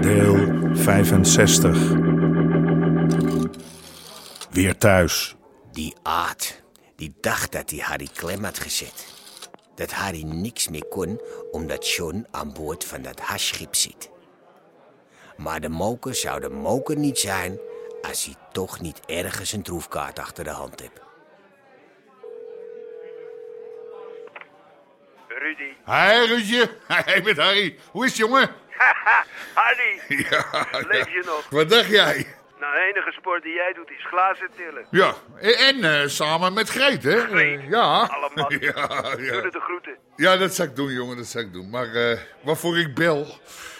Deel 65. Weer thuis. Die aard, die dacht dat hij Harry klem had gezet. Dat Harry niks meer kon omdat John aan boord van dat haschschip zit. Maar de moker zou de moker niet zijn als hij toch niet ergens een troefkaart achter de hand hebt. Rudy. Hi, Ruudje. Hey, met Harry. Hoe is het, jongen? Harry, Ja, leef je nog? Wat dacht jij? Nou, de enige sport die jij doet is glazen tillen. Ja, en, en, eh, samen met Greet, hè? Greet. Eh, ja. Allemaal. Ja, Doe ja. het de groeten. ja, dat zou ik doen, jongen, dat zou ik doen. Maar eh, waarvoor ik bel,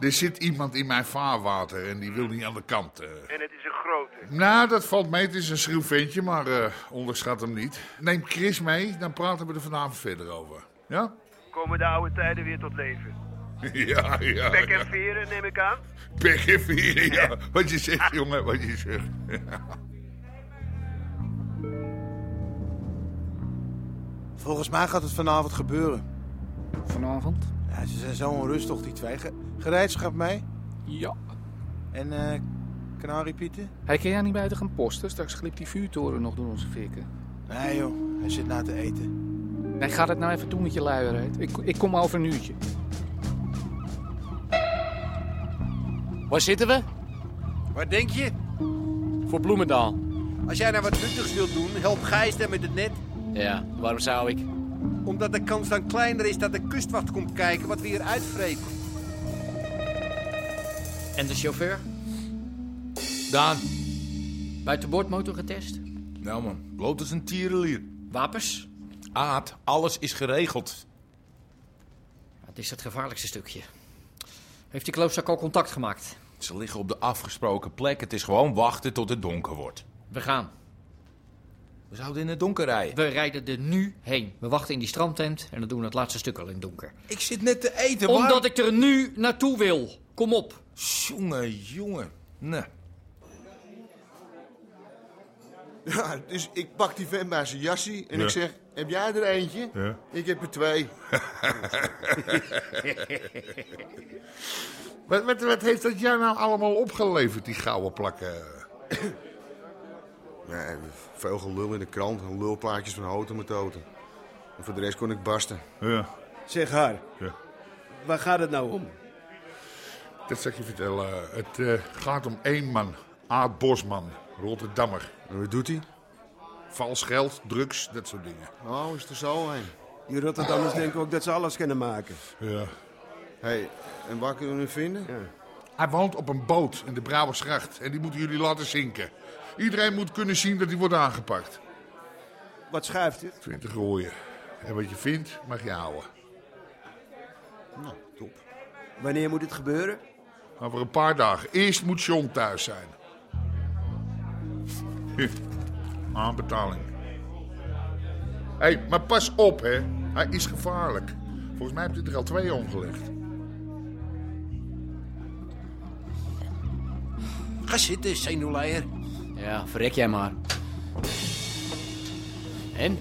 er zit iemand in mijn vaarwater en die wil niet aan de kant. eh. En het is een grote. Nou, dat valt mee. Het is een schroef ventje, maar eh, onderschat hem niet. Neem Chris mee, dan praten we er vanavond verder over. Ja? Komen de oude tijden weer tot leven. Ja, ja. Pek Oh, ja. en veren neem ik aan. Pek en vieren, ja. Wat je zegt, jongen, wat je zegt. Volgens mij gaat het vanavond gebeuren. Vanavond? Ja, ze zijn zo onrustig, die twee. Ge- gereedschap mee. Ja. En eh kanariepieten? Hij kan jij niet buiten gaan posten? Straks glipt die vuurtoren nog door onze fikken. Nee joh, hij zit nou te eten. Nee, ga dat nou even doen met je luierheid. Ik, ik kom over een uurtje. Waar zitten we? Waar denk je? Voor Bloemendaal. Als jij nou wat nuttigs wilt doen, help Gijs dan met het net. Ja, waarom zou ik? Omdat de kans dan kleiner is dat de kustwacht komt kijken wat we hier uitvreten. En de chauffeur? Daan. Buitenboordmotor getest? Nou man, bloot als een tierenlier. Wapens? Aad, alles is geregeld. Het is het gevaarlijkste stukje. Heeft die klootzak al contact gemaakt? Ze liggen op de afgesproken plek. Het is gewoon wachten tot het donker wordt. We gaan. We zouden in het donker rijden. We rijden er nu heen. We wachten in die strandtent en dan doen we het laatste stuk al in het donker. Ik zit net te eten, Omdat ik er nu naartoe wil. Kom op. Jongen, jongen. Nee. Ja, dus ik pak die vent bij zijn jassie en Ja. ik zeg... Heb jij er eentje? Ja. Ik heb er twee. Wat, wat, wat heeft dat jou nou allemaal opgeleverd, die gouden plakken? Nee, veel gelul in de krant en lulplaatjes van houten met toten. En voor de rest kon ik barsten. Ja, Zeg haar, Ja. waar gaat het nou om? dat zal ik je vertellen. Het eh, gaat om één man. Aad Bosman, Rotterdammer. En wat doet hij? Vals geld, drugs, dat soort dingen. Oh, is er zo een. Die Rotterdammers denken ook dat ze alles kunnen maken. Ja. hey, en waar kunnen we hem vinden? Hij woont op een boot in de Brouwersgracht en die moeten jullie laten zinken. Iedereen moet kunnen zien dat hij wordt aangepakt. Wat schuift het? Twintig rooien. En wat je vindt, mag je houden. Nou, top. Wanneer moet het gebeuren? Over een paar dagen. Eerst moet John thuis zijn. Hier, Aanbetaling. Hé, hey, maar pas op, hè. Hij is gevaarlijk. Volgens mij heb je er al twee omgelegd. Ga zitten, zenuwleier. Ja, verrek jij maar. En?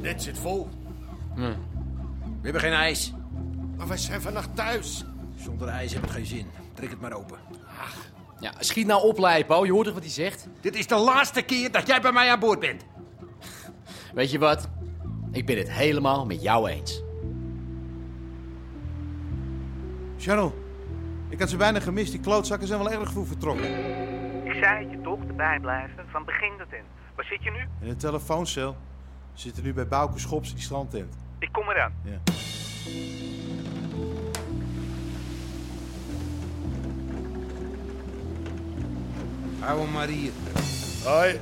Net zit vol. We hebben geen ijs. Maar wij zijn vannacht thuis. Zonder ijs heb het geen zin. Trek het maar open. Ja, schiet nou op, Leipo. Je hoort toch wat hij zegt? Dit is de laatste keer dat jij bij mij aan boord bent. Weet je wat? Ik ben het helemaal met jou eens. Charles, ik had ze bijna gemist. Die klootzakken zijn wel erg vroeg vertrokken. Ik zei het je toch, erbij blijven, van begin tot eind. Waar zit je nu? En de telefooncel. Ze zitten nu bij Bouke Schops in die strandtent. Ik kom eraan. Ja. Hou hem maar hier. Hoi.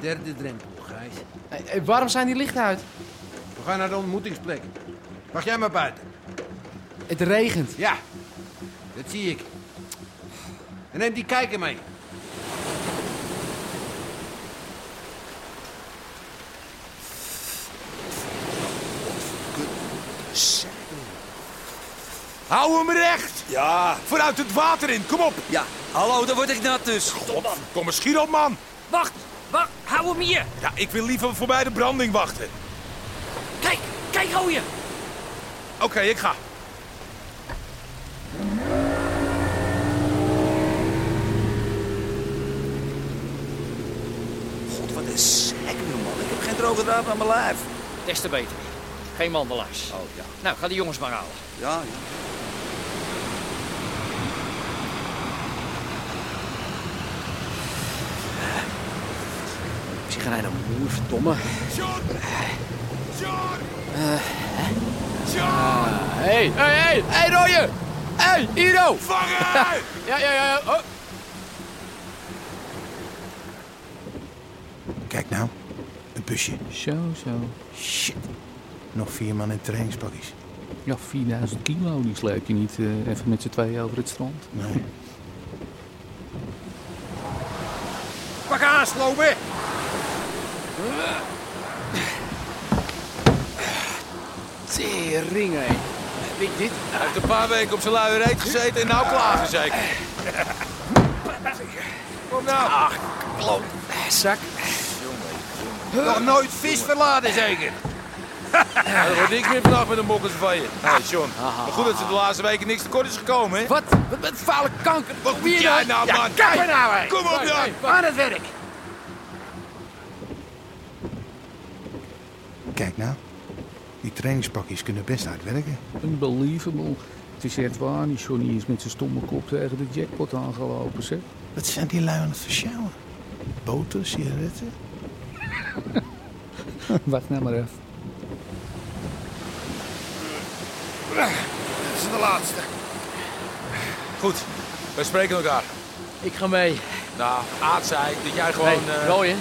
Derde drempel, Gijs. waarom zijn die lichten uit? We gaan naar de ontmoetingsplek. Wacht jij maar buiten. Het regent. Ja, dat zie ik. En neem die kijker mee. Hou hem recht! Ja. Vooruit het water in, kom op! Ja, hallo, daar word ik nat dus. Kom eens, schiet op, man! Wacht, wacht, hou hem hier. Ja, ik wil liever voorbij de branding wachten. Kijk, kijk, hou je. Oké, ik ga. God, wat is gek nu, man. Ik heb geen droge draad aan mijn lijf. Des te beter. Geen mandelaars. Oh ja. Nou, ga die jongens maar halen. Ja, Misschien gaan hij naar moer, verdomme. John! John! Hé, hé, hé, hé, Royer! Hé, Ido! Vangen! ja, ja, ja, ja. Oh. Kijk nou, een busje. Zo, zo. Shit. Nog vier man in trainingspakjes. Ja, 4000 kilo, die sleep je niet eh, even met z'n tweeën over het strand. Nee. Pak aan, slopen! Tering, hé. Heb ik dit? Hij heeft een paar weken op zijn luie reet gezeten en nou klagen zeker. Kom nou. Ach, klop. Zak. Nog nooit vis verlaten zeker. Ja, dat wordt niks meer vandaag met een bokkers van je. Hey John, maar goed dat ze de laatste weken niks tekort is gekomen, hè? Wat? Wat met vuile kanker? Wat Wie moet jij dan? nou, Ja, man? kap er nou, hé. Kom op, Wacht, nou! hé, wacht. Aan het werk. Kijk nou, die trainingspakjes kunnen best uitwerken. Unbelievable. Het is echt waar, die Johnny is met zijn stomme kop tegen de jackpot aangelopen, zeg. Wat zijn die lui aan het versjouwen? Boter, sigaretten? Wacht nou maar even. Dit is de laatste. Goed, wij spreken elkaar. Ik ga mee. Nou, Aad zei dat jij gewoon... nee, eh, Royer.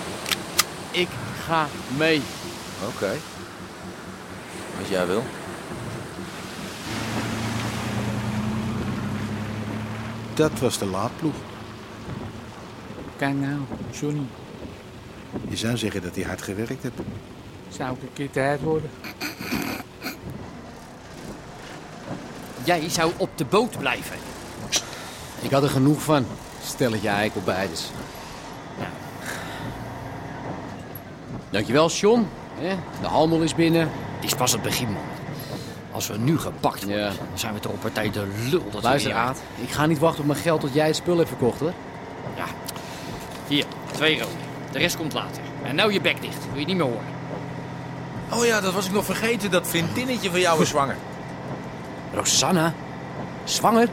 Ik ga mee. Oké. Als jij wil. Dat was de laadploeg. Kijk nou, Johnny. Je zou zeggen dat hij hard gewerkt heeft. Zou ik een keer tijd worden? Jij zou op de boot blijven. Ik had er genoeg van. Stelletje eikelbeiders. Nou. Dankjewel, John. Hè, De handel is binnen. Het is pas het begin, man. Als we nu gepakt worden, dan zijn we toch op partij de lul. Dat Luister, we hier- Aad. Ik ga niet wachten op mijn geld tot jij het spul hebt verkocht, hoor. Ja. Hier, twee rode. De rest komt later. En nou je bek dicht. Wil je het niet meer horen. Oh ja, dat was ik nog vergeten. Dat vriendinnetje van jou is zwanger. Rosanna? Zwanger?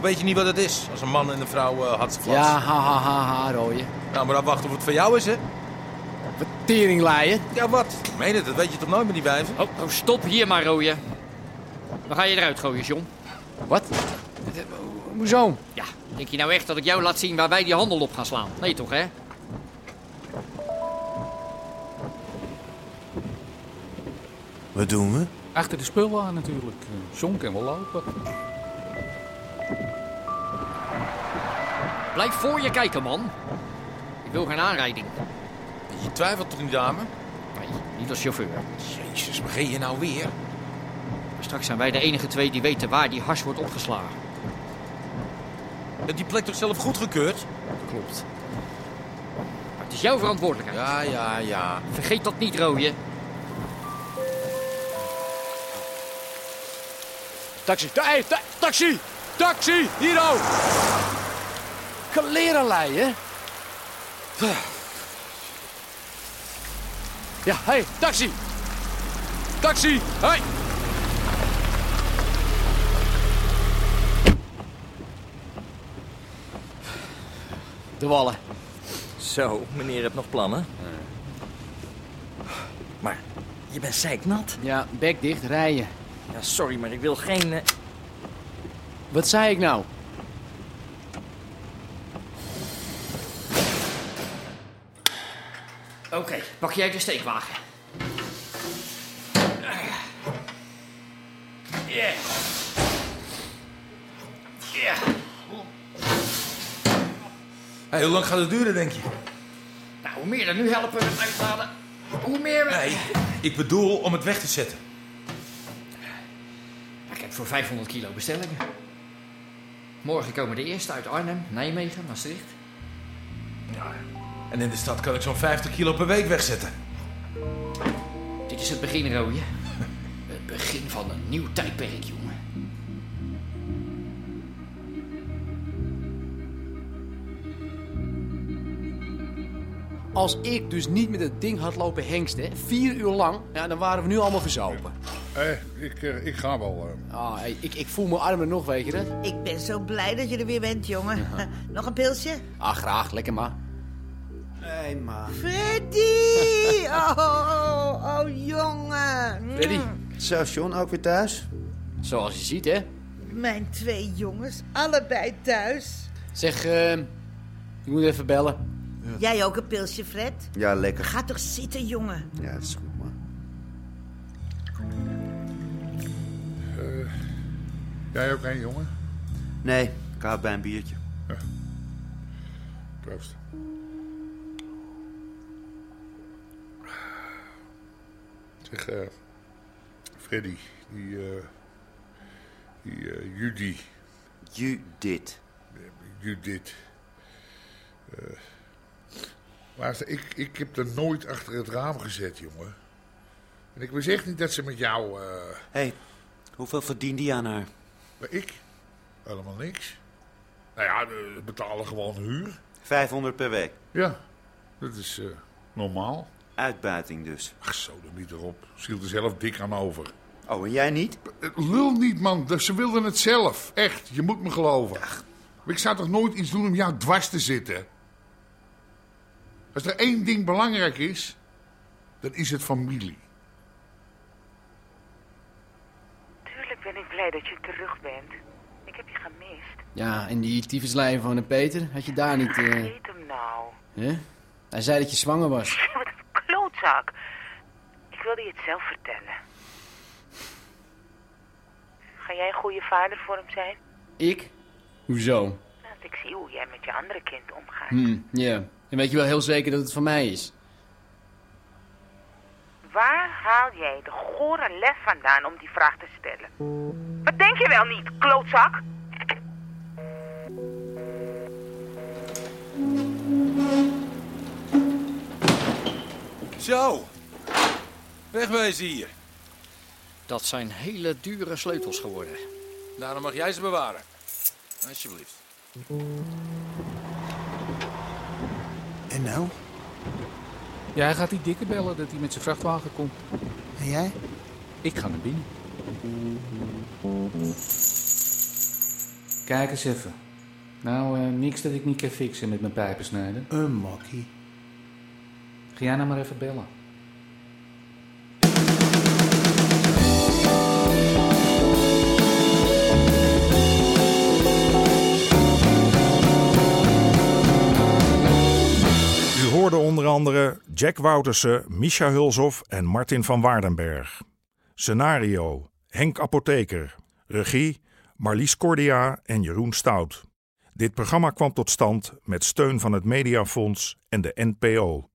Weet je niet wat het is? Als een man en een vrouw eh had ze Ja, ha, ha, ha, ha, rooie. Nou, maar dan wachten of het van jou is, hè? Teringleier. Ja, wat? Ik meen het, dat weet je toch nooit met die wijven? Oh, oh, stop hier maar, rooie. Dan ga je eruit gooien, John. Eh, Wat? Hoezo? Ja, denk je nou echt dat ik jou laat zien waar wij die handel op gaan slaan? Nee toch, hè? Wat doen we? Achter de spullen aan natuurlijk. Eh, John kan wel lopen. Blijf voor je kijken, man. Ik wil geen aanrijding. Je twijfelt toch niet, dame? Nee, niet als chauffeur. Jezus, begin je nou weer? Straks zijn wij de enige twee die weten waar die hars wordt opgeslagen. Je hebt die plek toch zelf goedgekeurd? Klopt. Maar het is jouw verantwoordelijkheid. Ja, ja, ja. Vergeet dat niet, rooie. Taxi. Ta hey, ta- taxi! Taxi! Hiro! Kalerenlei, hè? Ja, hé, hey, taxi! Taxi! Hé! Hey. De wallen. Zo, meneer hebt nog plannen. Maar je bent zeiknat. Ja, bek dicht, rijden. Ja, sorry, maar ik wil geen... eh, Wat zei ik nou? Oké, pak jij de steekwagen. Ja. Ja. Hey, hoe lang gaat het duren, denk je? Nou, hoe meer er nu helpen met uitladen, hoe meer we... Nee, ik bedoel om het weg te zetten. Ik heb voor 500 kilo bestellingen. Morgen komen de eerste uit Arnhem, Nijmegen, Maastricht. En in de stad kan ik zo'n 50 kilo per week wegzetten. Dit is het begin, Rooie. Het begin van een nieuw tijdperk, jongen. Als ik dus niet met dat ding had lopen hengsten, vier uur lang, ja, dan waren we nu allemaal verzopen. Eh, ik, eh, ik ga wel. eh. Ah, hey, ik, ik voel mijn armen nog, weet je dat? Ik ben zo blij dat je er weer bent, jongen. Ja. Nog een pilsje? Ah, graag, lekker maar. Nee, ma. Freddy! Oh, oh, oh, jongen. Mm. Freddy. Zo, John, ook weer thuis? Zoals je ziet, hè? Mijn twee jongens, allebei thuis. Zeg, eh, ik moet even bellen. Jij ook een pilsje, Fred? Ja, lekker. Ga toch zitten, jongen. Ja, dat is goed, man. Eh, jij ook een jongen? Nee, ik hou bij een biertje. Proost. Zeg, eh, Freddy, die, eh, die eh, Judy. Judith. Judith. Eh, luister, ik, ik heb er nooit achter het raam gezet, jongen. En ik wist echt niet dat ze met jou... eh, hey, hoeveel verdient die aan haar? Ik? Helemaal niks. Nou ja, we betalen gewoon huur. 500 per week. Ja, dat is eh, normaal. Uitbuiting dus. Ach, zo, dan niet erop. Ze hield er zelf dik aan over. Oh, en jij niet? Lul niet, man. Dat- Ze wilden het zelf. Echt, je moet me geloven. Maar ik zou toch nooit iets doen om jou dwars te zitten? Als er één ding belangrijk is, dan is het familie. Tuurlijk ben ik blij dat je terug bent. Ik heb je gemist. Ja, en die tyfuslijn van de Peter, had je daar niet... eh, Vergeet hem nou. hè? Hij zei dat je zwanger was. Wat een klootzak. Ik wilde je het zelf vertellen. Ga jij een goede vader voor hem zijn? Ik? Hoezo? Want ik zie hoe jij met je andere kind omgaat. Hm, ja. En weet je wel heel zeker dat het van mij is? Waar haal jij de gore lef vandaan om die vraag te stellen? Wat denk je wel niet, klootzak? Zo. Wegwezen hier. Dat zijn hele dure sleutels geworden. Daarom mag jij ze bewaren. Alsjeblieft. En nou? Ja, hij gaat die dikke bellen dat hij met zijn vrachtwagen komt. En jij? Ik ga naar binnen. Kijk eens even. Nou, eh, niks dat ik niet kan fixen met mijn pijpensnijder. Een makkie. Ga jij nou maar even bellen. U hoorde onder andere Jack Woutersen, Misha Hulshoff en Martin van Waardenberg. Scenario: Henk Apotheker. Regie: Marlies Cordia en Jeroen Stout. Dit programma kwam tot stand met steun van het Mediafonds en de NPO.